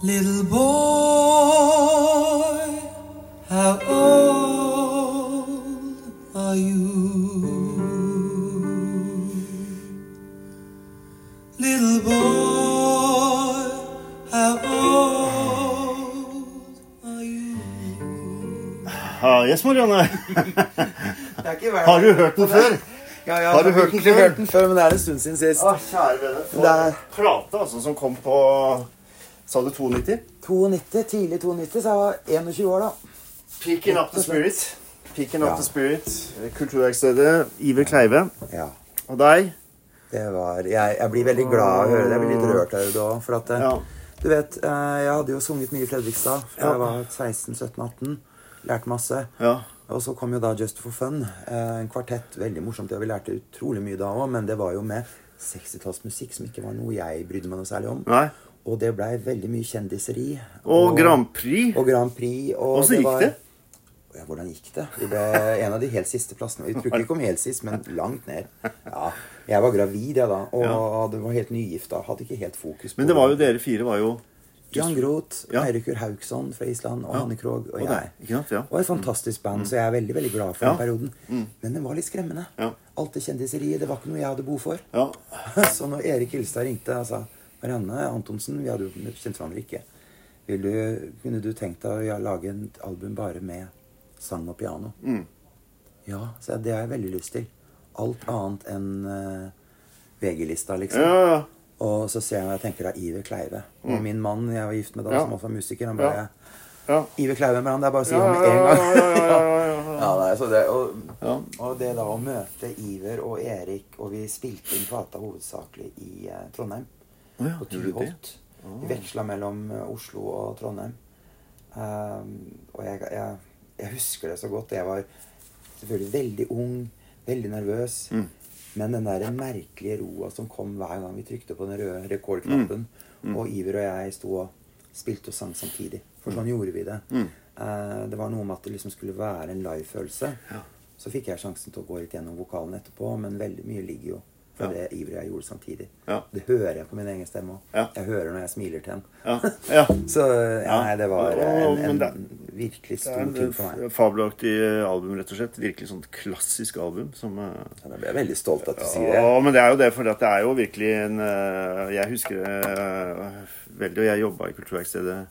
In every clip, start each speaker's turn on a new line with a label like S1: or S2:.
S1: Little boy, how old are you? Little boy, how old are you?
S2: Ja, yes, Marianne.
S3: Det er ikke hver
S2: Har du
S3: dag.
S2: hørt den før?
S3: Ja, ja,
S2: Har du
S3: jeg
S2: hørt den
S3: virkelig
S2: før?
S3: hørt den før, men det er en stund siden sist.
S2: Å, kjære vene. For
S3: Det er-
S2: plate altså, som kom på Sa du 92?
S3: 92, tidlig 92, så jeg var 21 år da.
S2: Peaking Up The Spirit. Peaking Up
S3: Ja.
S2: The Spirit. Kulturverkstedet. Iver Kleive.
S3: Ja,
S2: Og deg.
S3: det var... Jeg, jeg blir veldig glad av å høre det. Jeg blir litt rørt av det da, for at... eh,
S2: Ja.
S3: Du vet, eh, jeg hadde jo sunget mye i Fredrikstad fra
S2: Ja.
S3: jeg var 16, 17, 18. Lært masse.
S2: Ja.
S3: Og så kom jo da Just for Fun, eh, en kvartett. Veldig morsomt. og Vi lærte utrolig mye da òg, men det var jo med 60-tallsmusikk som ikke var noe jeg brydde meg noe særlig om.
S2: Nei.
S3: Og det blei veldig mye kjendiseri.
S2: Og Grand Prix.
S3: Og Grand Prix. Og
S2: Åssen gikk
S3: var-
S2: det?
S3: Ja, hvordan gikk det? Vi ble en av de helt siste plassene. Vi tror ikke vi kom helt sist, men langt ned. Ja, Jeg var gravid, jeg da, og det var helt nygifta. Hadde ikke helt fokus på
S2: Men det var jo dere fire var jo
S3: Jan Groth,
S2: Ja.
S3: Eirikur Haugsson fra Island og Hanne Krogh og
S2: Og
S3: jeg.
S2: deg, ikke sant? Ja.
S3: Og et fantastisk band, så jeg er veldig veldig glad for
S2: Ja. Mm.
S3: den perioden. Men den var litt skremmende.
S2: Ja.
S3: Alt det kjendiseriet, det var ikke noe jeg hadde behov for.
S2: Ja.
S3: Så når Erik Hilstad ringte og sa Marianne Antonsen, vi hadde jo vi kjente hverandre ikke Vil du, Kunne du tenkt deg å ja, lage et album bare med sang og piano?
S2: Mm.
S3: Ja, sa jeg. Det har jeg veldig lyst til. Alt annet enn eh, VG-lista, liksom.
S2: ja, ja.
S3: Og så ser jeg og jeg tenker da Iver Kleive. Og min mann jeg var gift med da,
S2: Ja.
S3: som også var musiker, han
S2: Ja.
S3: bare
S2: Ja.
S3: Iver Kleive med han, det er bare å si
S2: Ja,
S3: ham med en
S2: ja,
S3: gang.
S2: ja, ja, ja, ja, ja, ja.
S3: Ja, nei, så det, og,
S2: Ja.
S3: og det da å møte Iver og Erik, og vi spilte inn plata hovedsakelig i eh, Trondheim.
S2: Å ja,
S3: på
S2: gjorde du det?
S3: Tyholt. Vi veksla mellom eh, Oslo og Trondheim. Ehm, og jeg, jeg, jeg husker det så godt. Jeg var selvfølgelig veldig ung, veldig nervøs.
S2: Mm.
S3: Men den der merkelige roa som kom hver gang vi trykte på den røde rekordknappen,
S2: Mm.
S3: og Iver og jeg sto og spilte og sang samtidig. For
S2: Mm.
S3: sånn gjorde vi det. Eh, det var noe med at det liksom skulle være en live-følelse. Så fikk jeg sjansen til å gå litt gjennom vokalen etterpå, men veldig mye ligger jo fra
S2: Ja.
S3: det Iver og jeg gjorde samtidig.
S2: Ja.
S3: Det hører jeg på min egen stemme òg.
S2: Ja.
S3: Jeg hører når jeg smiler til henne.
S2: Ja. Ja.
S3: Så ja,
S2: Ja.
S3: nei, det var
S2: Ja,
S3: en,
S2: men
S3: en
S2: det-
S3: virkelig
S2: Det
S3: stor
S2: er
S3: ting for meg.
S2: et fabelaktig album, rett og slett. Virkelig sånn klassisk album som eh,
S3: Ja, da ble jeg veldig stolt at du sier det.
S2: Ja, men det er jo det, for det er jo virkelig en eh, Jeg husker det eh, veldig, og jeg jobba i Kulturverkstedet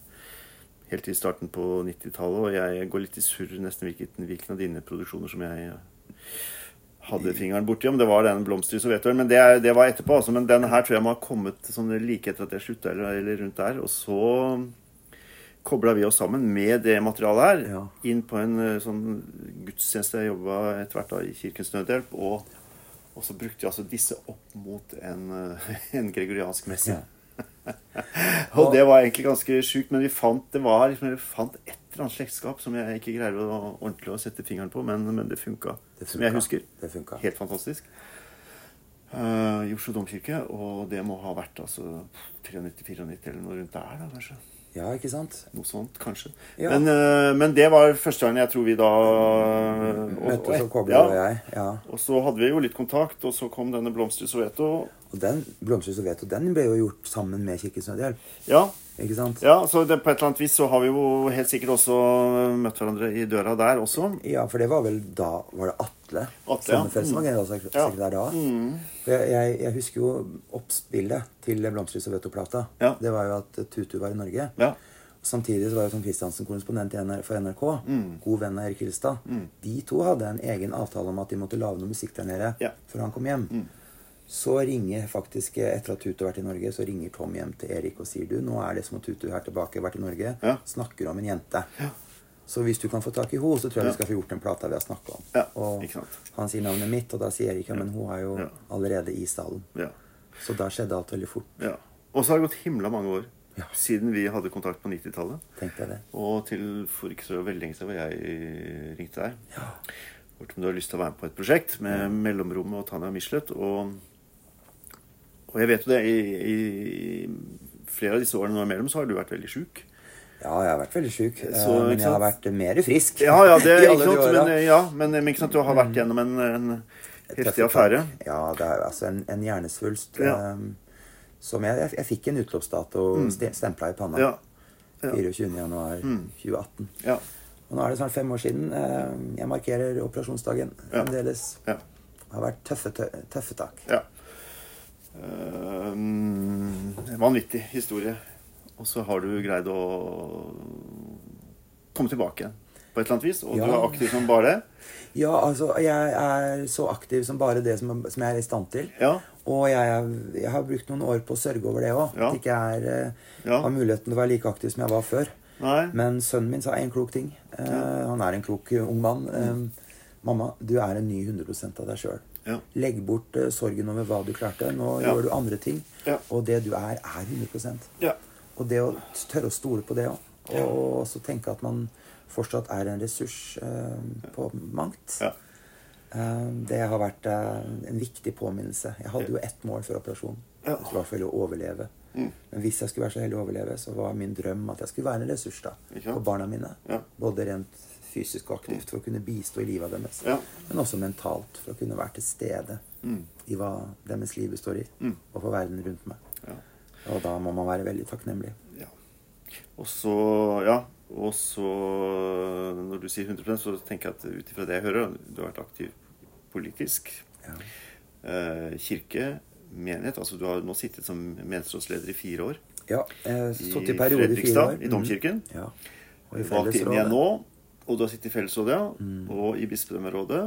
S2: helt til starten på 90-tallet, og jeg går litt i surr nesten hvilken, hvilken av dine produksjoner som jeg hadde fingeren borti, om det var den blomster i Sovjetunionen. Men det, er- det var etterpå, altså. Men den her tror jeg må ha kommet sånn like etter at jeg slutta, eller, eller rundt der. Og så kobla vi oss sammen med det materialet her
S3: Ja.
S2: inn på en eh, sånn gudstjeneste jeg jobba etter hvert da i Kirkens Nødhjelp. Og, og så brukte jeg altså disse opp mot en, eh, en gregoriansk messe.
S3: Ja.
S2: og det var egentlig ganske sjukt, men vi fant, det var, liksom, vi fant et eller annet slektskap som jeg ikke greier å ordentlig å sette fingeren på, men, men det funka.
S3: Det
S2: Som jeg
S3: funka.
S2: husker.
S3: Det funka.
S2: Helt fantastisk. Eh, I Oslo domkirke, og det må ha vært altså 93-94 eller noe rundt der, da, kanskje.
S3: Ja, ikke sant?
S2: Noe sånt, kanskje.
S3: Ja.
S2: Men, eh, men det var første gangen jeg tror vi da og- og-
S3: Møttes og kobla
S2: ja.
S3: og jeg. Ja.
S2: Og så hadde vi jo litt kontakt, og så kom denne Blomster i Soweto.
S3: Og den Blomster og Veto, den ble jo gjort sammen med Kirkens Nødhjelp.
S2: Ja,
S3: Ikke sant?
S2: ja så det, på et eller annet vis så har vi jo helt sikkert også eh, møtt hverandre i døra der også.
S3: Ja, for det var vel da Var det Atle?
S2: Atle, ja. Mm.
S3: Sommerfeld som var generalsekretær da? For jeg, jeg, jeg husker jo oppspillet til Blomsterlys og Veto-plata.
S2: Ja.
S3: Det var jo at Tutu var i Norge.
S2: Ja.
S3: Samtidig så var jo Tom Christiansen korrespondent i NR for NRK.
S2: Mm.
S3: God venn av Erik Hilstad. De to hadde en egen avtale om at de måtte lage noe musikk der nede
S2: Ja. Mm.
S3: før han kom hjem. Så ringer faktisk, etter at Tutu har vært i Norge, så ringer Tom hjem til Erik og sier du, nå er det som om Tutu er tilbake, vært i Norge,
S2: Ja.
S3: snakker om en jente. Så hvis du kan få tak i henne, så tror jeg vi skal få gjort den plata vi har snakka om.
S2: Ja,
S3: og
S2: ikke sant.
S3: han sier navnet mitt, og da sier Erik ja, men hun er jo
S2: Ja.
S3: allerede i stallen.
S2: Ja.
S3: Så da skjedde alt veldig fort,
S2: ja. Og så har det gått himla mange år
S3: Ja.
S2: siden vi hadde kontakt på 90-tallet.
S3: tenkte jeg det.
S2: Og til for ikke så veldig lenge siden hvor jeg eh, ringte deg. Ja. Hørte om du har lyst til å være med på et prosjekt med Mellomrommet og Tanja Michelet. Og, og jeg vet jo det, i, i flere av disse årene nå imellom så har du vært veldig sjuk.
S3: Ja, jeg har vært veldig sjuk, eh,
S2: Så,
S3: men
S2: ikke
S3: jeg har
S2: sant?
S3: vært mer frisk.
S2: Ja, ja, det
S3: i
S2: er ikke
S3: alle de
S2: sant,
S3: åra.
S2: men, Mm. ja, men, eh, men ikke sant, du har vært gjennom en, en heftig affære.
S3: Ja, det er jo altså en, en hjernesvulst.
S2: Ja.
S3: ehm, som jeg, jeg, jeg fikk en utløpsdato mm. stempla i panna.
S2: Ja. Ja. Mm.
S3: 24. januar 2018.
S2: Ja.
S3: Og nå er det snart fem år siden. eh, Jeg markerer operasjonsdagen
S2: Ja.
S3: fremdeles.
S2: ja.
S3: Det har vært tøffe, tø tøffe tak.
S2: Ja. Ehm, vanvittig historie. Og så har du greid å komme tilbake igjen på et eller annet vis. Og
S3: Ja.
S2: du er aktiv som bare det.
S3: Ja, altså, jeg er så aktiv som bare det som, som jeg er i stand til.
S2: Ja.
S3: Og jeg, er- jeg har brukt noen år på å sørge over det òg.
S2: Ja.
S3: At jeg ikke er, eh,
S2: Ja.
S3: har muligheten til å være like aktiv som jeg var før.
S2: Nei.
S3: Men sønnen min sa en klok ting. Eh, Han er en klok eh, ung mann. Eh, mamma, du er en ny 100 av deg
S2: Mm.
S3: sjøl.
S2: Ja.
S3: Legg bort eh, sorgen over hva du klarte. Nå
S2: Ja.
S3: gjør du andre ting.
S2: Ja.
S3: Og det du er, er 100
S2: Ja.
S3: Og det å tørre å stole på det òg. Og også tenke at man fortsatt er en ressurs eh, på mangt.
S2: Ja.
S3: Eh, Det har vært eh, en viktig påminnelse. Jeg hadde jo ett mål før operasjonen.
S2: Ja. Mm.
S3: Det var for å overleve. Men hvis jeg skulle være så heldig å overleve, så var min drøm at jeg skulle være en ressurs da,
S2: Ikke sant?
S3: for barna mine.
S2: Ja.
S3: Både rent fysisk og aktivt for å kunne bistå i livet deres.
S2: Ja. Mm.
S3: Men også mentalt, for å kunne være til stede i hva deres liv består i, og for verden rundt meg.
S2: Ja.
S3: Og da må man være veldig takknemlig.
S2: ja. Og så Ja. Og så Når du sier 100 så tenker jeg at ut ifra det jeg hører, du har vært aktiv politisk.
S3: Ja.
S2: Eh, kirke, menighet. Altså du har nå sittet som menighetsrådsleder i fire år.
S3: Ja, eh, Sittet i
S2: I
S3: periode i fire
S2: Fredrikstad,
S3: år.
S2: i domkirken.
S3: Mm. Ja. Og i
S2: valgt inn igjen
S3: fellesrådet.
S2: nå. Og du har sittet i fellesrådet, ja. Og i bispedømmerådet.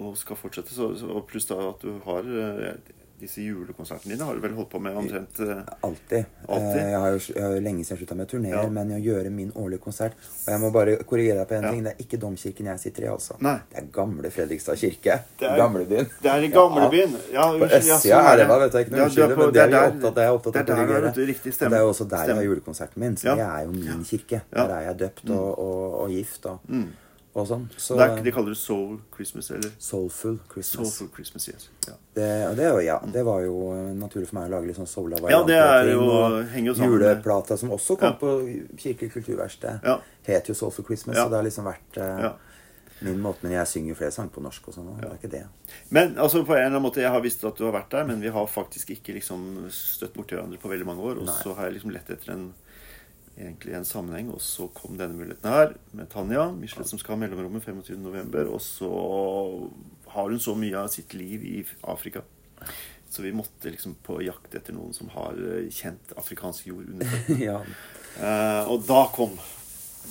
S2: Og skal fortsette. Så, så, og pluss da at du har eh, disse julekonsertene dine har du vel holdt på med omtrent eh,
S3: Alltid.
S2: Alltid?
S3: Eh, Jeg har jo jeg har jo lenge siden jeg slutta med turneer,
S2: Ja.
S3: men å gjøre min årlige konsert Og jeg må bare korrigere deg på en
S2: Ja.
S3: ting. Det er ikke domkirken jeg sitter i, altså.
S2: Nei.
S3: Det er gamle Fredrikstad kirke.
S2: Det er-
S3: Gamlebyen.
S2: Det er i gamlebyen. Ja,
S3: På
S2: unnskyld, ja,
S3: østsida
S2: sånn
S3: er det, da. vet jeg ikke
S2: Ja,
S3: noe
S2: du
S3: unnskyld,
S2: på-
S3: men det er
S2: der-
S3: jeg opptatt, jeg er opptatt
S2: det er der du
S3: av å
S2: er,
S3: korrigere.
S2: vet du, Riktig
S3: Og
S2: stemme.
S3: det er jo også der jeg har
S2: Stemmer.
S3: julekonserten min, så
S2: Ja.
S3: det er jo min kirke.
S2: Ja. Mm.
S3: Der er jeg døpt og, og, og gift og, og sånn. Så
S2: Det er ikke- de kaller det Soul Christmas, eller
S3: Soulful Christmas.
S2: Soulful Christmas, yes. Ja.
S3: Det, og det, er jo- ja, det var jo eh, naturlig for meg å lage litt sånn sola
S2: Ja, det
S3: variant av
S2: er
S3: ting,
S2: jo-
S3: og
S2: henger jo sammen med-
S3: Juleplata som også kom
S2: Ja.
S3: på Kirkelig kulturverksted,
S2: Ja.
S3: het jo Soul for Christmas.
S2: Ja.
S3: Så det har liksom vært eh,
S2: Ja.
S3: min måte. Men jeg synger jo flere sanger på norsk og sånn. og Det er ikke det.
S2: Men altså, på en eller annen måte, jeg har visst at du har vært der, men vi har faktisk ikke liksom støtt borti hverandre på veldig mange år. Og
S3: Nei.
S2: så har jeg liksom lett etter en, egentlig en sammenheng, og så kom denne muligheten her med Tanja Michelet som skal ha mellomrommet 25.11., og så har hun så mye av sitt liv i Afrika. Så vi måtte liksom på jakt etter noen som har eh, kjent afrikansk jord under føttene.
S3: ja.
S2: Eh, og da kom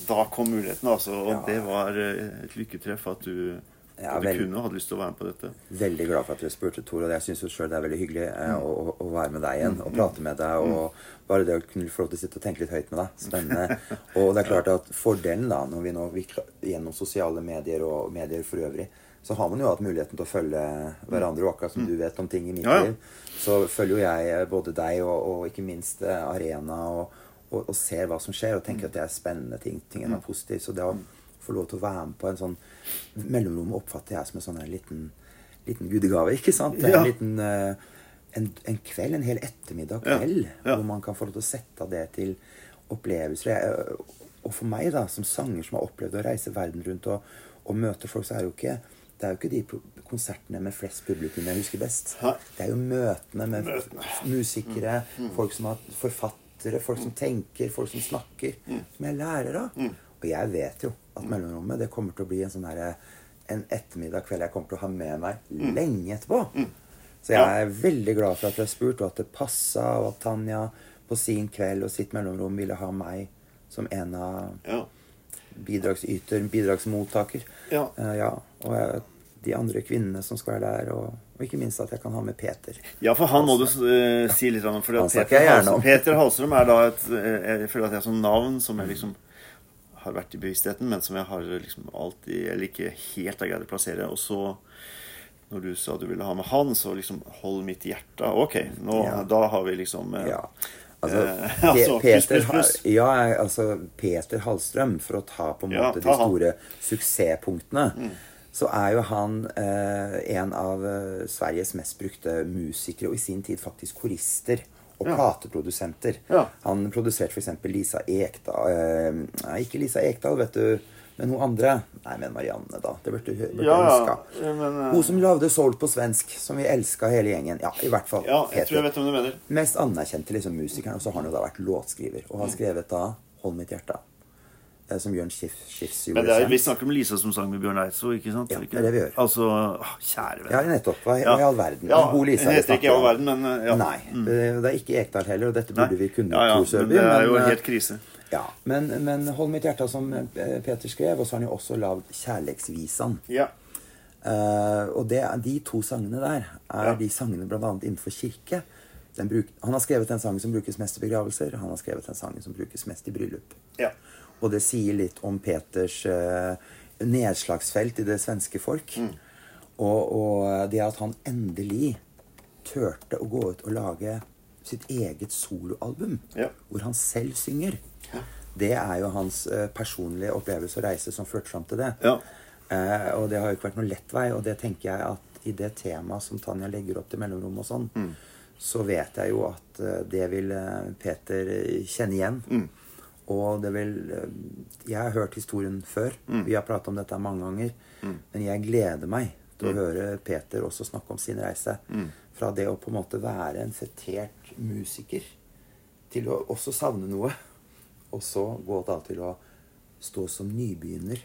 S2: Da kom muligheten, altså. Og
S3: Ja.
S2: det var eh, et lykketreff at du
S3: Ja,
S2: både
S3: vel.
S2: kunne og hadde lyst til å være med på dette.
S3: Veldig glad for at dere spurte, Tor. Og jeg syns jo sjøl det er veldig hyggelig eh,
S2: Mm.
S3: å, å, å være med deg igjen og prate med deg. Og bare det å kunne få lov til å sitte og tenke litt høyt med deg. Spennende. Og det er klart at fordelen, da, når vi nå vi, kla- gjennom sosiale medier og medier for øvrig, så har man jo hatt muligheten til å følge hverandre. Og akkurat som du vet om ting i mitt
S2: Mm. Ja, ja.
S3: liv, så følger jo jeg eh, både deg og, og ikke minst eh, Arena. og og, og ser hva som skjer, og tenker at det er spennende ting. Tingen
S2: Mm.
S3: er positiv. Så det å få lov til å være med på en sånn mellomrom oppfatter jeg som en sånn her liten, liten gudegave. ikke sant? Det er
S2: Ja.
S3: en liten eh, en, en kveld, en hel ettermiddag
S2: Ja,
S3: kveld,
S2: ja.
S3: hvor man kan få lov til å sette av det til opplevelser. Jeg, eh, og for meg, da, som sanger som har opplevd å reise verden rundt og, og møte folk, så er det jo ikke det er jo ikke de pro- konsertene med flest publikum jeg husker best.
S2: Hæ?
S3: Det er jo møtene med f- musikere, folk som har forfattere, folk som tenker, folk som snakker. Som jeg lærer av. Og jeg vet jo at mellomrommet det kommer til å bli en sånn herre en ettermiddag kveld jeg kommer til å ha med meg lenge etterpå. Så jeg er veldig glad for at dere har spurt, og at det passa, og at Tanja på sin kveld og sitt mellomrom ville ha meg som en av
S2: Ja.
S3: bidragsyter, bidragsmottaker.
S2: Ja.
S3: Eh, ja. Og jeg, de andre kvinnene som skal være der, og, og ikke minst at jeg kan ha med Peter.
S2: Ja, for han må du eh, si litt om. For
S3: Han
S2: at
S3: snakker
S2: Peter,
S3: jeg gjerne
S2: Halstrøm,
S3: om.
S2: Peter Halstrøm er da et eh, Jeg føler at jeg har sånn navn som jeg liksom har vært i bevisstheten, men som jeg har liksom alltid Eller ikke helt har greid å plassere. Og så, når du sa du ville ha med han, så liksom Hold mitt hjerte. Ok, nå,
S3: Ja.
S2: da har vi liksom eh,
S3: Ja. Altså,
S2: Eh,
S3: Pe-
S2: altså, pluss,
S3: Peter,
S2: pluss, pluss.
S3: Har- ja, jeg- altså Peter Hallstrøm, for å ta på en
S2: Ja,
S3: måte
S2: ta
S3: de
S2: han. Mm.
S3: store suksesspunktene, så er jo han eh, en av eh, Sveriges mest brukte musikere, og i sin tid faktisk korister og
S2: Ja.
S3: plateprodusenter.
S2: Ja.
S3: Han produserte f.eks. Lisa Ekdal eh, Nei, ikke Lisa Ekdal, vet du, men hun andre. Nei, men Marianne, da. Det burde du burde
S2: Ja,
S3: du
S2: ja,
S3: huska.
S2: men, eh,
S3: Hun som lagde Soul på svensk, som vi elska hele gjengen. Ja, i hvert fall.
S2: ja, jeg
S3: Peter
S2: tror jeg vet hvem du mener. Mm.
S3: mest anerkjente liksom, musikeren, og så har han jo da vært låtskriver. Og har skrevet da 'Hold mitt hjerte'. Det er som Jørn Schiff, Schiffs
S2: Men det er,
S3: julesang.
S2: vi snakker om Lisa som sang med Bjørn Eidsvå, ikke sant?
S3: Ja,
S2: Ikke?
S3: det er det vi gjør.
S2: Altså, åh, kjære venn.
S3: Ja, nettopp. Hva i hva i all verden?
S2: Ja,
S3: Hun Lisa
S2: hun
S3: vi
S2: heter ikke
S3: snakker
S2: i all
S3: om.
S2: verden, men eh, ja.
S3: Nei. Det det er ikke Ekdal heller, og dette
S2: Nei.
S3: burde vi kunne,
S2: ja, ja,
S3: Tor
S2: men
S3: Sørby.
S2: det er jo
S3: men, eh,
S2: helt krise.
S3: ja. men, men 'Hold mitt hjerte', som eh, Peter skrev, og så har han jo også lagd 'Kjærleiksvisan'.
S2: Ja.
S3: Eh, og det, er- de to sangene der er
S2: Ja.
S3: de sangene bl.a. innenfor kirke. Den bruk, han har skrevet den sangen som brukes mest i begravelser, han har skrevet den sangen som brukes mest i bryllup.
S2: ja.
S3: Og det sier litt om Peters eh, nedslagsfelt i det svenske folk.
S2: Mm.
S3: Og, og eh, det at han endelig turte å gå ut og lage sitt eget soloalbum,
S2: Ja.
S3: hvor han selv synger. Det er jo hans eh, personlige opplevelse og reise som førte fram til det.
S2: Ja.
S3: Eh, og det har jo ikke vært noen lett vei, og det tenker jeg at i det temaet som Tanja legger opp til mellomrom og sånn, så vet jeg jo at eh, det vil eh, Peter eh, kjenne igjen. Og det vil eh, Jeg har hørt historien før. Vi har pratet om dette mange ganger. Men jeg gleder meg til å høre Peter også snakke om sin reise. Fra det å på en måte være en fetert musiker til å også savne noe. Og så gå da til å stå som nybegynner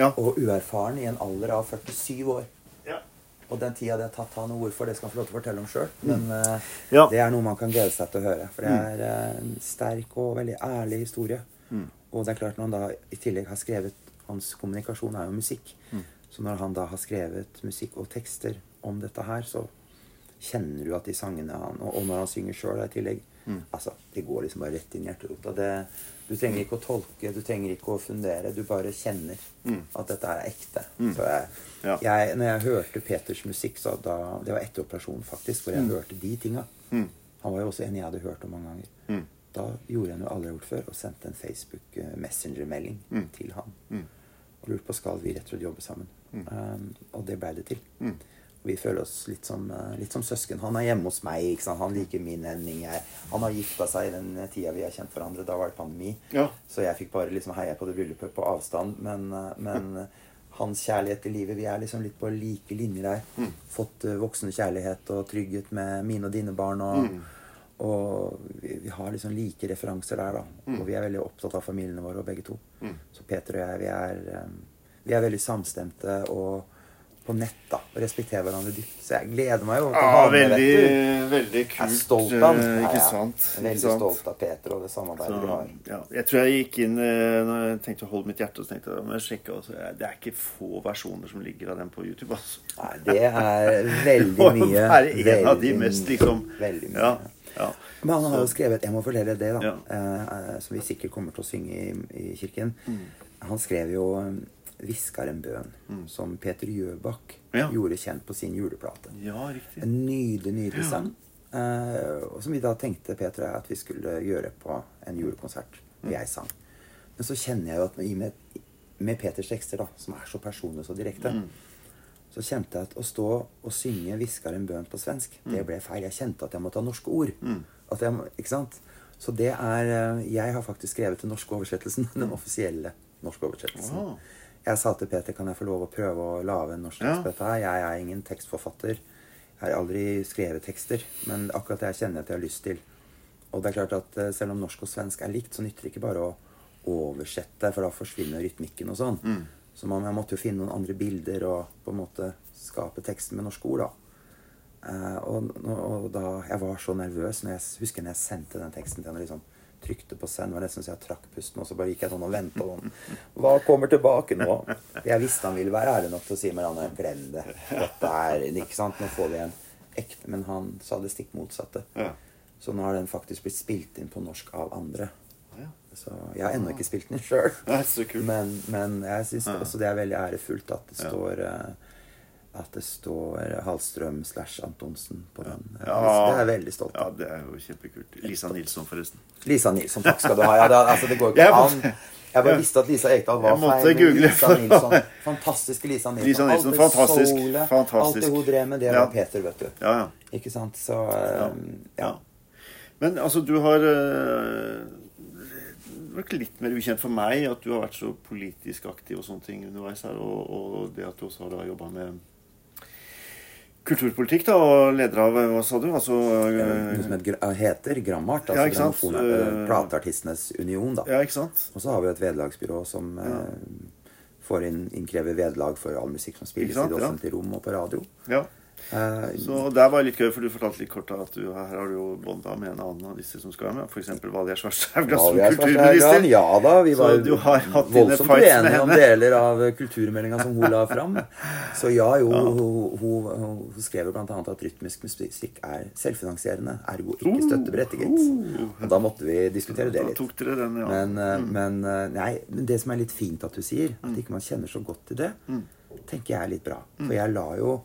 S2: Ja.
S3: og uerfaren i en alder av 47 år.
S2: Ja.
S3: Og den tida det har tatt han, og hvorfor, det skal han få lov til å fortelle om sjøl. Men eh,
S2: Mm. Ja. Mm.
S3: det er noe man kan glede seg til å høre. For det er eh, en sterk og veldig ærlig historie.
S2: Mm.
S3: Og det er klart, når han da i tillegg har skrevet Hans kommunikasjon er jo musikk.
S2: Mm.
S3: Så når han da har skrevet musikk og tekster om dette her, så kjenner du at de sangene han Og, og når han synger sjøl i tillegg
S2: Mm.
S3: Altså, det går liksom bare rett inn i hjerterota. Det- Du trenger ikke å tolke, du trenger ikke å fundere. Du bare kjenner at dette er ekte. Så jeg,
S2: Mm. Ja.
S3: jeg, når jeg hørte Peters musikk, så da, det var etter operasjonen faktisk, hvor jeg hørte de tinga. Han var jo også en jeg hadde hørt om mange ganger. Da gjorde jeg noe jeg aldri har gjort før, og sendte en Facebook eh, Messenger-melding til han. Og lurte på skal vi rett og slett jobbe sammen. Um, og det blei det til. Og vi føler oss litt som, eh, litt som søsken. Han er hjemme hos meg, ikke sant? han liker min Henning. Jeg, han har gifta seg i den tida vi har kjent hverandre. Da var det pandemi.
S2: Ja.
S3: Så jeg fikk bare liksom heie på det bryllupet på avstand. Men, eh,
S2: Mm.
S3: men eh, hans kjærlighet til livet Vi er liksom litt på like linjer der.
S2: Mm.
S3: Fått eh, voksen kjærlighet og trygghet med mine og dine barn. Og,
S2: Mm.
S3: og vi, vi har liksom like referanser der, da.
S2: Mm.
S3: Og vi er veldig opptatt av familiene våre, og begge to. Så Peter og jeg, vi er, eh, vi er veldig samstemte og på nett, da. og Respekterer hverandre dypt. Så jeg gleder meg jo. til å
S2: Ja,
S3: ha med, vet
S2: Ah, veldig,
S3: du.
S2: veldig kult.
S3: Jeg er stolt av han.
S2: eh,
S3: Ja,
S2: Ikke
S3: ja.
S2: sant?
S3: Veldig
S2: ikke sant?
S3: stolt av Peter og det samarbeidet vi har.
S2: ja, jeg tror jeg gikk inn eh, Når jeg tenkte å holde mitt hjerte, så tenkte jeg, men jeg sjekket også, eh, det er ikke få versjoner som ligger av den på YouTube. Altså.
S3: Nei, det er veldig
S2: må jo
S3: mye.
S2: være en av de
S3: veldig
S2: mest,
S3: mye,
S2: liksom.
S3: Veldig mye.
S2: Ja, ja.
S3: Men han har jo skrevet Jeg må fortelle det, da.
S2: Ja.
S3: eh, eh, som vi sikkert kommer til å synge i, i kirken.
S2: Mm.
S3: Han skrev jo eh, 'Hviskar en bøn', som Peter Gjøbakk
S2: Mm. Ja.
S3: gjorde kjent på sin juleplate.
S2: ja, riktig.
S3: En nydelig, nydelig sang. eh, og som vi da tenkte, Peter, og jeg, at vi skulle gjøre på en julekonsert. Og jeg sang. Men så kjenner jeg jo at i og med, med Peters tekster, da, som er så personlige og så direkte,
S2: Mm.
S3: så kjente jeg at å stå og synge 'Hviskar en bøn' på svensk, det
S2: Mm.
S3: ble feil. Jeg kjente at jeg måtte ha norske ord. At jeg, må- ikke sant? Så det er eh, Jeg har faktisk skrevet den norske oversettelsen.
S2: Mm.
S3: Den offisielle norske oversettelsen.
S2: Wow.
S3: Jeg sa til Peter kan jeg få lov å prøve å lage en norsk
S2: Ja.
S3: tekst på dette her. Jeg er ingen tekstforfatter. Jeg har aldri skrevet tekster. Men akkurat det jeg kjenner at jeg har lyst til. Og det er klart at eh, selv om norsk og svensk er likt, så nytter det ikke bare å oversette, for da forsvinner rytmikken og sånn. Så man jeg måtte jo finne noen andre bilder og på en måte skape teksten med norske ord, da. Eh, og, og, og da Jeg var så nervøs. Når jeg s- husker når jeg sendte den teksten til henne. Liksom, trykte på send. Det var nesten så jeg trakk pusten, og så bare gikk jeg sånn og venta. Sånn. Hva kommer tilbake nå? Jeg visste han ville være ærlig nok til å si men han er glem det. Dette er ikke sant, Nå får vi en ekte Men han sa det stikk motsatte.
S2: Ja.
S3: Så nå har den faktisk blitt spilt inn på norsk av andre.
S2: Ja.
S3: Så jeg har ennå ikke spilt den sjøl.
S2: Nei, så kult.
S3: Men, men jeg syns også det er veldig ærefullt at det står eh, At det står Hallstrøm slash Antonsen på den. Jeg synes- Det er jeg veldig stolt
S2: Ja,
S3: av.
S2: det er jo kjempekult. Lisa Nilsson, forresten.
S3: Lisa Nilsson, takk skal du ha. Ja, det, er- altså, det går
S2: Jeg
S3: ikke
S2: måtte-
S3: an. Jeg bare visste at Lisa Ekdal var
S2: Jeg måtte
S3: feil. men
S2: google
S3: Lisa
S2: for-
S3: Nilsson, fantastiske Lisa Nilsson.
S2: Lisa Nilsson,
S3: Alt det
S2: fantastisk,
S3: solet, Alt
S2: fantastisk.
S3: det hun drev med, det
S2: Ja.
S3: var Peter, vet du.
S2: Ja, ja.
S3: Ikke sant? Så eh, ja.
S2: Men altså, du har eh, Det var litt mer ukjent for meg at du har vært så politisk aktiv og sånne ting underveis her, og, og det at du også har jobba med kulturpolitikk, da, og leder av Hva sa du? Altså
S3: Noe som
S2: eh,
S3: heter, gra- heter Grammart.
S2: Ja,
S3: Altså
S2: ikke sant?
S3: grammofon- eh,
S2: Eh,
S3: Plateartistenes union, da.
S2: Ja, ikke sant?
S3: Og så har vi jo et vederlagsbyrå som eh, får inn, innkrever vederlag for all musikk som spilles
S2: Ikke sant,
S3: i det
S2: ja.
S3: offentlige rom og på radio.
S2: Ja.
S3: Eh,
S2: Så der var det litt gøy, for du fortalte litt kort da at du, her har du jo bonda med en annen av disse som skal være med. F.eks. Valgerd Svarsthaug
S3: ja,
S2: Glassum,
S3: vi er snart der, Jan.
S2: kulturminister.
S3: ja da, vi
S2: Så
S3: var
S2: du har hatt dine
S3: voldsomt
S2: fights med
S3: uenige om
S2: henne.
S3: deler av kulturmeldinga som hun la fram. Så ja, jo, Hun, hun, hun, hun skrev jo bl.a. at rytmisk musikk er selvfinansierende, ergo ikke støtteberettiget. Og da måtte vi diskutere det
S2: Oh, Da
S3: litt.
S2: tok dere den, ja. Mm.
S3: Men, eh, men, eh, nei, men det som er litt fint at du sier, at ikke man kjenner så godt til det,
S2: Mm.
S3: tenker jeg er litt bra. For jeg la jo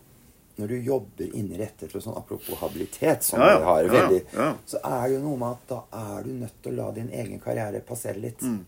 S3: Når du jobber inni rettigheter og sånn, apropos habilitet, som
S2: Ja, ja.
S3: vi har
S2: Ja, ja.
S3: veldig,
S2: Ja.
S3: så er det jo noe med at da er du nødt til å la din egen karriere passere litt.
S2: Mm.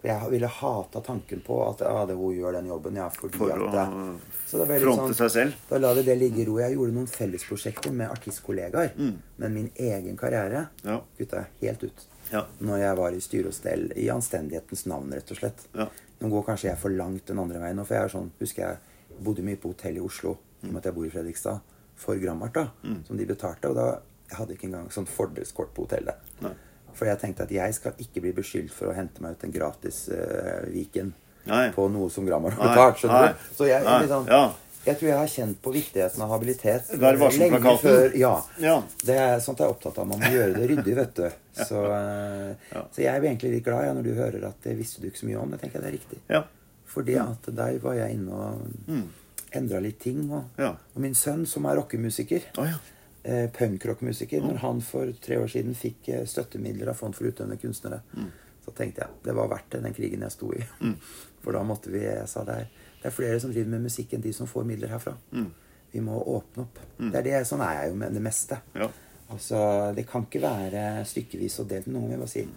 S3: For jeg ville hata tanken på at ja, det, hun gjør den jobben, ja, fordi
S2: For
S3: at
S2: å,
S3: det- Så det ble litt
S2: fronte seg selv.
S3: Da la vi det ligge i ro. Jeg gjorde noen fellesprosjekter med artistkollegaer, men min egen karriere
S2: Mm. Ja.
S3: kutta jeg helt ut
S2: Ja.
S3: når jeg var i styre og stell, i anstendighetens navn, rett og slett.
S2: Ja.
S3: Nå går kanskje jeg for langt den andre veien nå, for jeg er sånn, husker jeg bodde mye på hotell i Oslo, i og med at jeg bor i Fredrikstad, for Grammart, da,
S2: Mm.
S3: som de betalte. Og da jeg hadde ikke engang sånn fordelskort på hotellet.
S2: Nei.
S3: For jeg tenkte at jeg skal ikke bli beskyldt for å hente meg ut en gratis eh, Viken
S2: Nei.
S3: på noe som Grammar har
S2: Nei,
S3: betalt. skjønner
S2: nei,
S3: du? Så jeg,
S2: nei,
S3: liksom,
S2: ja.
S3: jeg tror jeg har kjent på viktigheten av habilitet
S2: Vær varsom-plakaten.
S3: ja.
S2: Ja.
S3: Det er sånt jeg er opptatt av. Man må gjøre det ryddig, vet du. Så, eh, så jeg blir egentlig litt glad ja, når du hører at det visste du ikke så mye om. Det tenker jeg det er riktig.
S2: Ja. Mm.
S3: Fordi at der var jeg inne og endra litt ting. Og,
S2: Ja.
S3: og min sønn, som er rockemusiker,
S2: Å, ja.
S3: eh, punkrockmusiker,
S2: Mm.
S3: når han for tre år siden fikk eh, støttemidler av Fond for utøvende kunstnere,
S2: Mm.
S3: så tenkte jeg det var verdt det, den krigen jeg sto i. For da måtte vi Jeg sa det er, det er flere som driver med musikk enn de som får midler herfra.
S2: Mm.
S3: Vi må åpne opp. Det er det, sånn er jeg jo med det meste.
S2: Ja.
S3: Altså, Det kan ikke være stykkevis og delt. Noen vil bare si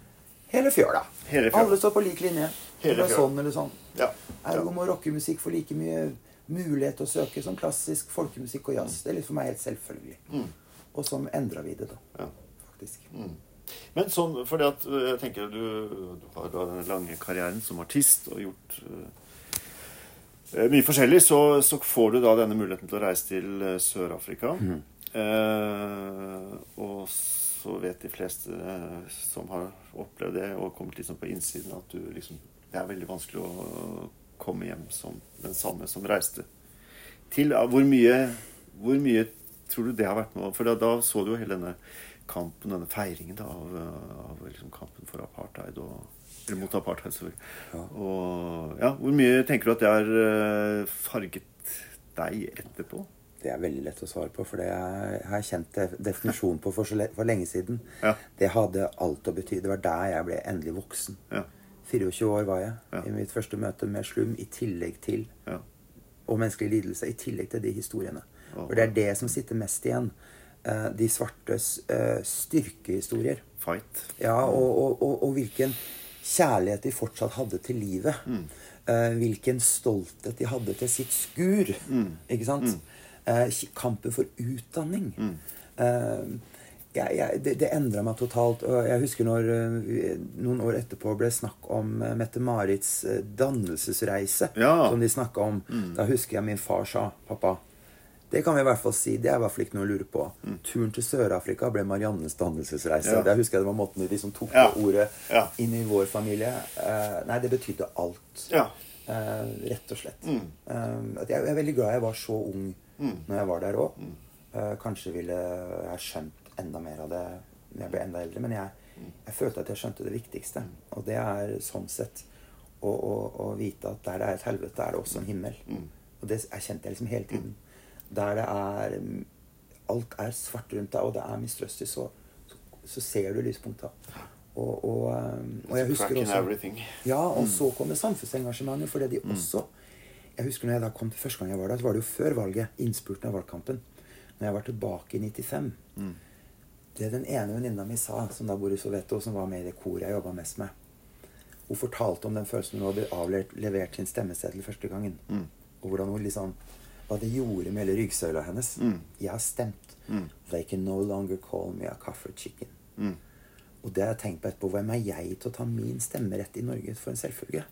S3: hele fjøla.
S2: Hele fjøla.
S3: Alle står på lik linje.
S2: Hele
S3: Eller
S2: fjøla.
S3: sånn eller sånn.
S2: Ja.
S3: Ergo må rockemusikk få like mye mulighet til å søke som klassisk folkemusikk og
S2: Mm.
S3: jazz. Det er litt for meg helt selvfølgelig. Og sånn endra vi det, da.
S2: Ja. Mm.
S3: Faktisk.
S2: Men sånn, fordi at øh, jeg tenker du, du har da denne lange karrieren som artist og gjort øh, mye forskjellig, så, så får du da denne muligheten til å reise til øh, Sør-Afrika. Eh, og så vet de fleste øh, som har opplevd det og kommet liksom på innsiden, at du liksom Det er veldig vanskelig å komme hjem som den samme som reiste til ja, hvor mye, hvor mye tror du det har vært med å- For da, da så du jo hele denne kampen, denne feiringen da, av, eh, av liksom kampen for apartheid og Eller mot apartheid, selvfølgelig. Og ja, hvor mye tenker du at det har eh, farget deg etterpå?
S3: Det er veldig lett å svare på, for det er, jeg har kjent det- definisjonen på for, så le, for lenge siden.
S2: Ja.
S3: Det hadde alt å bety. Det var der jeg ble endelig voksen.
S2: Ja.
S3: 24 år var jeg
S2: Ja.
S3: i mitt første møte med slum, i tillegg til
S2: Ja.
S3: og menneskelig lidelse, i tillegg til de historiene.
S2: Ja.
S3: For det er det som sitter mest igjen. Eh, De svartes eh, styrkehistorier.
S2: Fight.
S3: Ja, og, og, og, og hvilken kjærlighet de fortsatt hadde til livet. Eh, hvilken stolthet de hadde til sitt skur. Ikke sant? Eh, ki- kampen for utdanning. Eh, jeg, jeg, det det endra meg totalt. og Jeg husker når eh, vi- noen år etterpå ble snakk om eh, Mette-Marits eh, dannelsesreise.
S2: Ja.
S3: Som de snakka om.
S2: Mm.
S3: Da husker jeg min far sa, pappa det kan vi i hvert fall si. Det er i hvert fall ikke noe å lure på. Turen til Sør-Afrika ble Mariannes dannelsesreise.
S2: Mm. Ja.
S3: Der husker jeg det var måten de liksom tok
S2: Ja.
S3: det ordet
S2: Ja.
S3: inn i vår familie. Eh, nei, det betydde alt.
S2: Ja.
S3: Eh, rett og slett. Eh, at jeg, jeg er veldig glad jeg var så ung når jeg var der òg. kanskje ville jeg skjønt enda mer av det når jeg ble enda eldre, men jeg, jeg følte at jeg skjønte det viktigste. Og det er sånn sett å, å, å vite at der det er et helvete, er det også en himmel. Og det erkjente jeg liksom hele tiden. Der det er mm, Alt er svart rundt deg, og det er mistrøstig, så, så, så ser du lyspunkta. Og, og, eh, og jeg husker
S2: Crack in
S3: også
S2: everything.
S3: ja, og så kommer samfunnsengasjementet, fordi de også Jeg husker når jeg da kom til første gang jeg var der, så var det jo før valget. Innspurten av valgkampen. Når jeg var tilbake i 95. Det den ene venninna mi sa, som da bor i Soweto, som var med i det koret jeg jobba mest med Hun fortalte om den følelsen hun hadde avlevert levert sin stemmeseddel første gangen.
S2: Mm.
S3: Og hvordan hun liksom Hva det gjorde med hele ryggsøyla hennes.
S2: Mm.
S3: Jeg har stemt. They can no longer call me a coffee chicken.
S2: Mm.
S3: Og det har jeg tenkt på etterpå. Hvem er jeg til å ta min stemmerett i
S2: Mm.
S3: Norge for en selvfølge?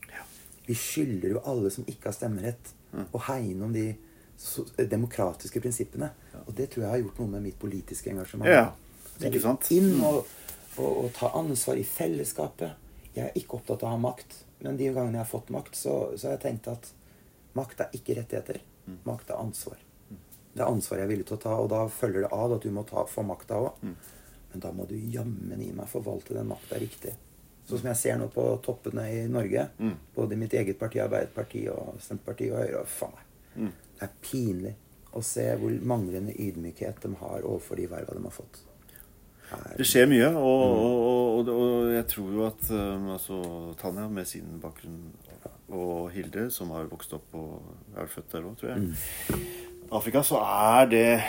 S3: Vi skylder jo alle som ikke har stemmerett, å hegne om de so demokratiske prinsippene. Og det tror jeg har gjort noe med mitt politiske engasjement.
S2: Ja,
S3: Jeg
S2: ikke
S3: vil
S2: sant?
S3: Inn og, og, og ta ansvar i fellesskapet. Jeg er ikke opptatt av å ha makt, men de gangene jeg har fått makt, så, så har jeg tenkt at makt er ikke rettigheter. Makt er ansvar. Det er ansvar jeg er villig til å ta, og da følger det av at du må ta, få makta òg. Men da må du jammen i meg forvalte den makta riktig. Sånn som jeg ser nå på toppene i Norge, både i mitt eget parti, Arbeiderpartiet, og Senterpartiet og Høyre og faen meg. Det er pinlig å se hvor manglende ydmykhet de har overfor de verva de har fått.
S2: Det skjer mye, og, og, og, og jeg tror jo at um, altså, Tanja med sin bakgrunn og Hilde, som har vokst opp og er født der òg, tror jeg Afrika, så er det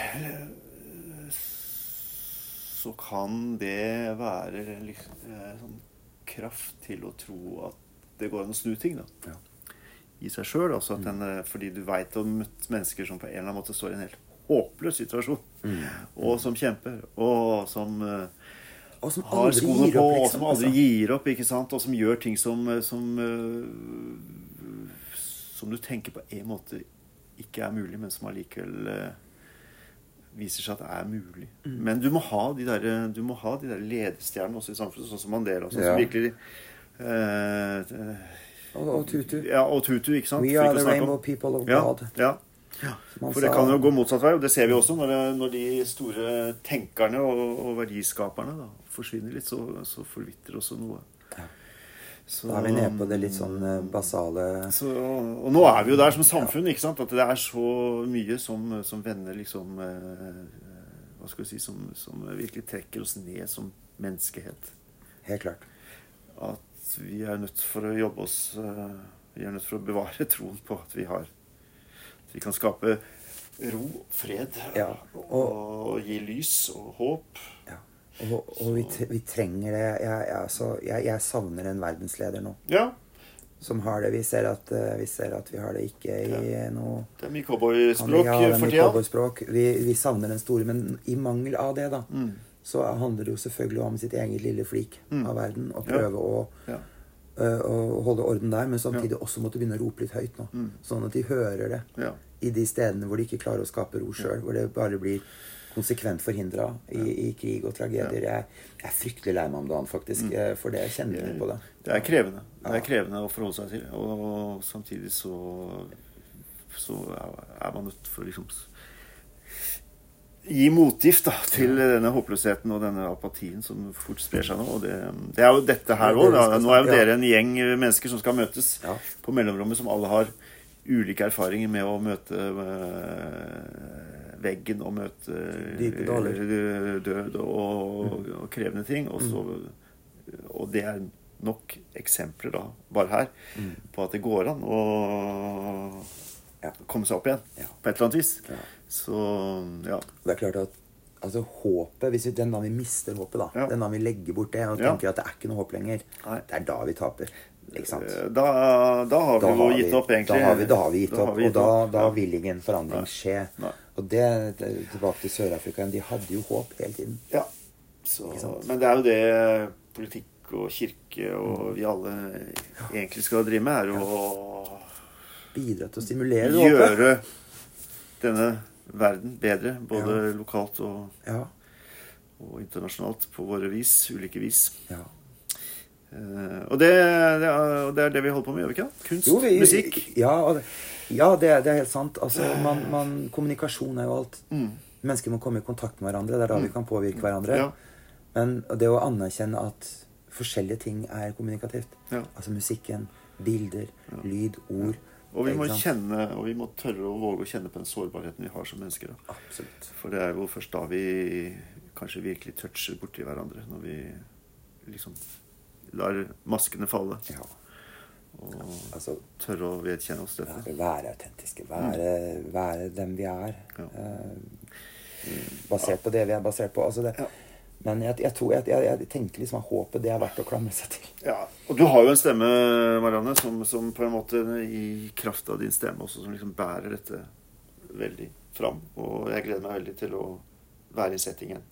S2: Så kan det være liksom, eh, sånn kraft til å tro at det går an å snu ting, da.
S3: Ja.
S2: I seg sjøl, altså. At den, eh, fordi du veit å møte mennesker som på en eller annen måte står i en helt håpløs situasjon, og som kjemper, og som eh,
S3: Og som
S2: har
S3: aldri
S2: skoene
S3: gir
S2: på,
S3: opp,
S2: og
S3: liksom.
S2: som aldri
S3: altså.
S2: gir opp, ikke sant? Og som gjør ting som, eh, som øh, Som du tenker på en måte ikke er mulig, men som allikevel øh, viser seg at er mulig.
S3: Mm.
S2: Men du må ha de der, eh, du må ha de der ledestjernene også i samfunnet, sånn som Mandela, sånn
S3: Ja.
S2: som virkelig øh,
S3: Og, og Tutu.
S2: Ja, og Tutu, ikke sant?
S3: We
S2: For ikke
S3: are
S2: å
S3: the
S2: snakke om-
S3: rainbow people of
S2: ja,
S3: God.
S2: ja.
S3: Som han
S2: For det
S3: sa.
S2: kan jo gå motsatt vei, og det ser vi også. Når, det- når de store tenkerne og, og verdiskaperne da, forsvinner litt, så, så forvitrer også noe. Så-
S3: Da er vi nede på det litt sånn eh, basale
S2: så, og nå er vi jo der som samfunn, ikke sant? At det er så mye som, som vender liksom eh, Hva skal vi si som, som virkelig trekker oss ned som menneskehet.
S3: Helt klart.
S2: At vi er nødt for å jobbe oss eh, Vi er nødt for å bevare troen på at vi har At vi kan skape ro, fred
S3: Ja,
S2: og,
S3: og-
S2: gi lys og håp.
S3: Ja. Og, og vi, tre- vi trenger det. Jeg, jeg, altså, jeg, jeg savner en verdensleder nå
S2: Ja.
S3: som har det. Vi ser at, eh, vi, ser at vi har det ikke i noe
S2: Det er mye cowboyspråk
S3: Ja, det er
S2: for
S3: mye
S2: tida.
S3: cowboyspråk. Vi, vi savner den store, men i mangel av det, da,
S2: Mm,
S3: så handler det jo selvfølgelig om sitt eget lille flik av verden. Og prøve å,
S2: Ja.
S3: øh, å holde orden der, men samtidig også måtte begynne å rope litt høyt nå.
S2: Mm.
S3: Sånn at de hører det
S2: Ja.
S3: i de stedene hvor de ikke klarer å skape ro sjøl. Hvor det bare blir konsekvent forhindra i, i krig og tragedier. Jeg, jeg er fryktelig lei meg om dagen, faktisk, eh, for det. Jeg kjenner litt på det.
S2: Mm. Det er krevende. Det er krevende å forholde seg til. Og, og samtidig så så er er man nødt for å liksom s- gi motgift da, til denne håpløsheten og denne apatien som fort sprer seg nå. Og det, det er jo dette her
S3: Det
S2: òg.
S3: er det vi skal
S2: Nå er jo
S3: snakke- ja.
S2: dere en gjeng mennesker som skal møtes
S3: Ja.
S2: på mellomrommet, som alle har ulike erfaringer med å møte øh, veggen og møte
S3: Dype daler.
S2: øh, død og, og krevende ting. Og, så, og det er nok eksempler da, bare her,
S3: Mm.
S2: på at det går an å
S3: Ja.
S2: komme seg opp igjen
S3: Ja.
S2: på et eller annet vis.
S3: Ja.
S2: Så ja.
S3: Og det er klart at altså, håpet, hvis vi, Den dagen vi mister håpet, da,
S2: Ja.
S3: den dagen vi legger bort det og
S2: Ja.
S3: tenker at det er ikke noe håp lenger,
S2: Nei.
S3: det er da vi taper. Ikke sant?
S2: Da, Eh, da har vi jo gitt opp, egentlig.
S3: da har vi, da har vi gitt
S2: Da har
S3: opp,
S2: vi gitt
S3: og da,
S2: opp,
S3: da
S2: ja.
S3: vil ingen forandring skje.
S2: Nei.
S3: Og det, det tilbake til Sør-Afrika igjen. De hadde jo håp hele tiden.
S2: Ja. Så,
S3: Ikke sant?
S2: men det er jo det politikk og kirke og vi alle egentlig skal drive med, er å
S3: Bidra til å stimulere det håpet.
S2: gjøre denne verden bedre, både lokalt og,
S3: Ja.
S2: og internasjonalt, på våre vis, ulike vis.
S3: ja.
S2: Eh, og det, det, er, og det er det vi holder på med, gjør vi ikke? det? Kunst,
S3: Jo, vi-
S2: musikk.
S3: Ja, og det, ja det, er- det er helt sant. Altså, man, man, kommunikasjon er jo alt. Mennesker må komme i kontakt med hverandre. Det er da vi kan påvirke hverandre.
S2: Mm. Ja.
S3: Men det å anerkjenne at forskjellige ting er kommunikativt.
S2: Ja.
S3: Altså musikken, bilder, lyd, ord.
S2: Og vi må
S3: ikke sant?
S2: kjenne, og vi må tørre å våge å kjenne på den sårbarheten vi har som mennesker. Da.
S3: Absolutt.
S2: For det er jo først da vi kanskje virkelig toucher borti hverandre. Når vi liksom lar maskene falle.
S3: Ja.
S2: Og
S3: Altså
S2: tørre å vedkjenne oss dette.
S3: være, være autentiske. Være, være dem vi er.
S2: Mm. Ja.
S3: eh, basert på det vi er basert på. Altså det,
S2: Ja.
S3: Men jeg, jeg tror jeg, jeg, jeg tenker liksom at håpet det er verdt å klamre seg til.
S2: Ja, Og du har jo en stemme, Marianne, som, som på en måte i kraft av din stemme også, som liksom bærer dette veldig fram. Og jeg gleder meg veldig til å være i settingen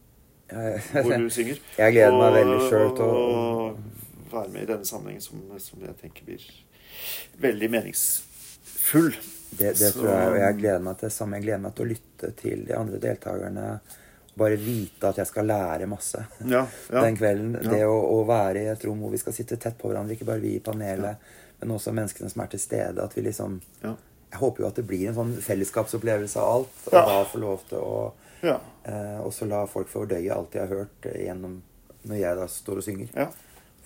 S3: Jeg,
S2: hvor du synger.
S3: Jeg gleder meg
S2: Og-
S3: veldig selv til å-
S2: og være med i denne sammenhengen som, som jeg tenker blir veldig meningsfull.
S3: Det, det
S2: Så-
S3: tror jeg, og jeg gleder meg til samme. Jeg gleder meg til å lytte til de andre deltakerne. Bare vite at jeg skal lære masse
S2: Ja, ja.
S3: den kvelden.
S2: Ja.
S3: Det å, å være i et rom hvor vi skal sitte tett på hverandre, ikke bare vi i panelet, men også menneskene som er til stede. At vi liksom
S2: Ja.
S3: Jeg håper jo at det blir en sånn fellesskapsopplevelse av alt. Og
S2: Ja.
S3: da få lov til å
S2: Ja.
S3: eh, også la folk få fordøye alt de har hørt eh, gjennom når jeg da står og synger.
S2: Ja.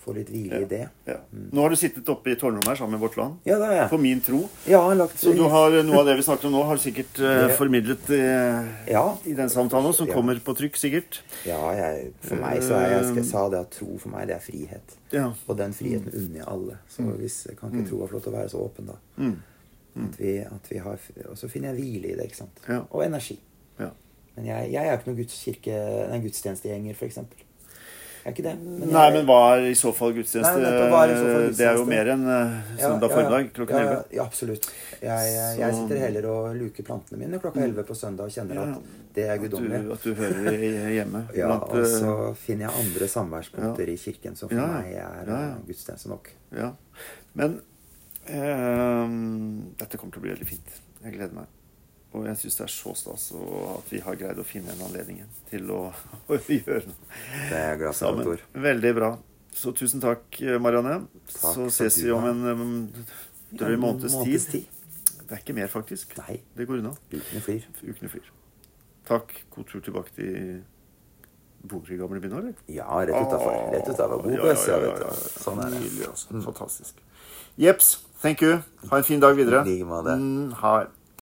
S3: Få litt hvile i det.
S2: ja. Nå har du sittet oppe i tårnrommet her sammen med Vårt Land.
S3: Ja, da er
S2: På
S3: jeg.
S2: min tro.
S3: Ja, jeg har lagt
S2: Så du har, noe av det vi snakker om nå, har du sikkert eh,
S3: Det-
S2: formidlet eh,
S3: Ja.
S2: i den samtalen også, som
S3: Ja.
S2: kommer på trykk, sikkert.
S3: Ja, jeg, for meg så er jeg, jeg sa det at tro for meg, det er frihet.
S2: Ja. Mm.
S3: Og den friheten unner jeg alle. Så hvis jeg kan ikke tro var flott å være så åpen, da. At vi, at vi har, og så finner jeg hvile i det, ikke sant.
S2: Ja.
S3: Og energi.
S2: ja.
S3: Men jeg, jeg er ikke noen gudskirke, nei, gudstjenestegjenger, for eksempel. Jeg er ikke det. Men jeg,
S2: Nei, men hva er i så fall gudstjeneste?
S3: Nei, nettopp, hva er i så fall
S2: Det er jo
S3: gudstjeneste?
S2: mer enn eh,
S3: Ja,
S2: søndag
S3: ja, ja.
S2: formiddag klokken
S3: ja, ja,
S2: 11.
S3: Ja, absolutt. Jeg, jeg, jeg
S2: Så-
S3: sitter heller og luker plantene mine klokka 11 på søndag og kjenner
S2: Mm. Ja, ja.
S3: at det er
S2: At du,
S3: guddommelig.
S2: at du hører i- hjemme.
S3: Ja, altså.
S2: blant, eh,
S3: og så finner jeg andre samværspunkter i kirken som for
S2: Ja, ja.
S3: meg er
S2: Ja, ja.
S3: eh, gudstjeneste nok.
S2: ja. Men eh, dette kommer til å bli veldig fint. Jeg gleder meg. Og jeg syns det er så stas å- at vi har greid å finne en anledning igjen til å, å gjøre noe.
S3: Det er jeg glad for,
S2: sammen.
S3: Tor.
S2: Veldig bra. Så tusen takk, eh, Marianne.
S3: Takk
S2: så
S3: for
S2: ses
S3: du
S2: vi om
S3: da.
S2: en um, drøy
S3: En
S2: måneds
S3: måneds
S2: tid.
S3: tid.
S2: Det er ikke mer, faktisk.
S3: Nei.
S2: Det går unna.
S3: Ukene flyr.
S2: Ukene flyr. Takk. God tur tilbake til Boker i gamle byen, eller?
S3: Ja, rett utafor. Rett utafor. God bøsse, ja, vet du. Sånn er det.
S2: Nydelig, altså. Fantastisk. Jeps. Thank you. Ha en fin dag videre.
S3: I like måte.
S2: Mm, ha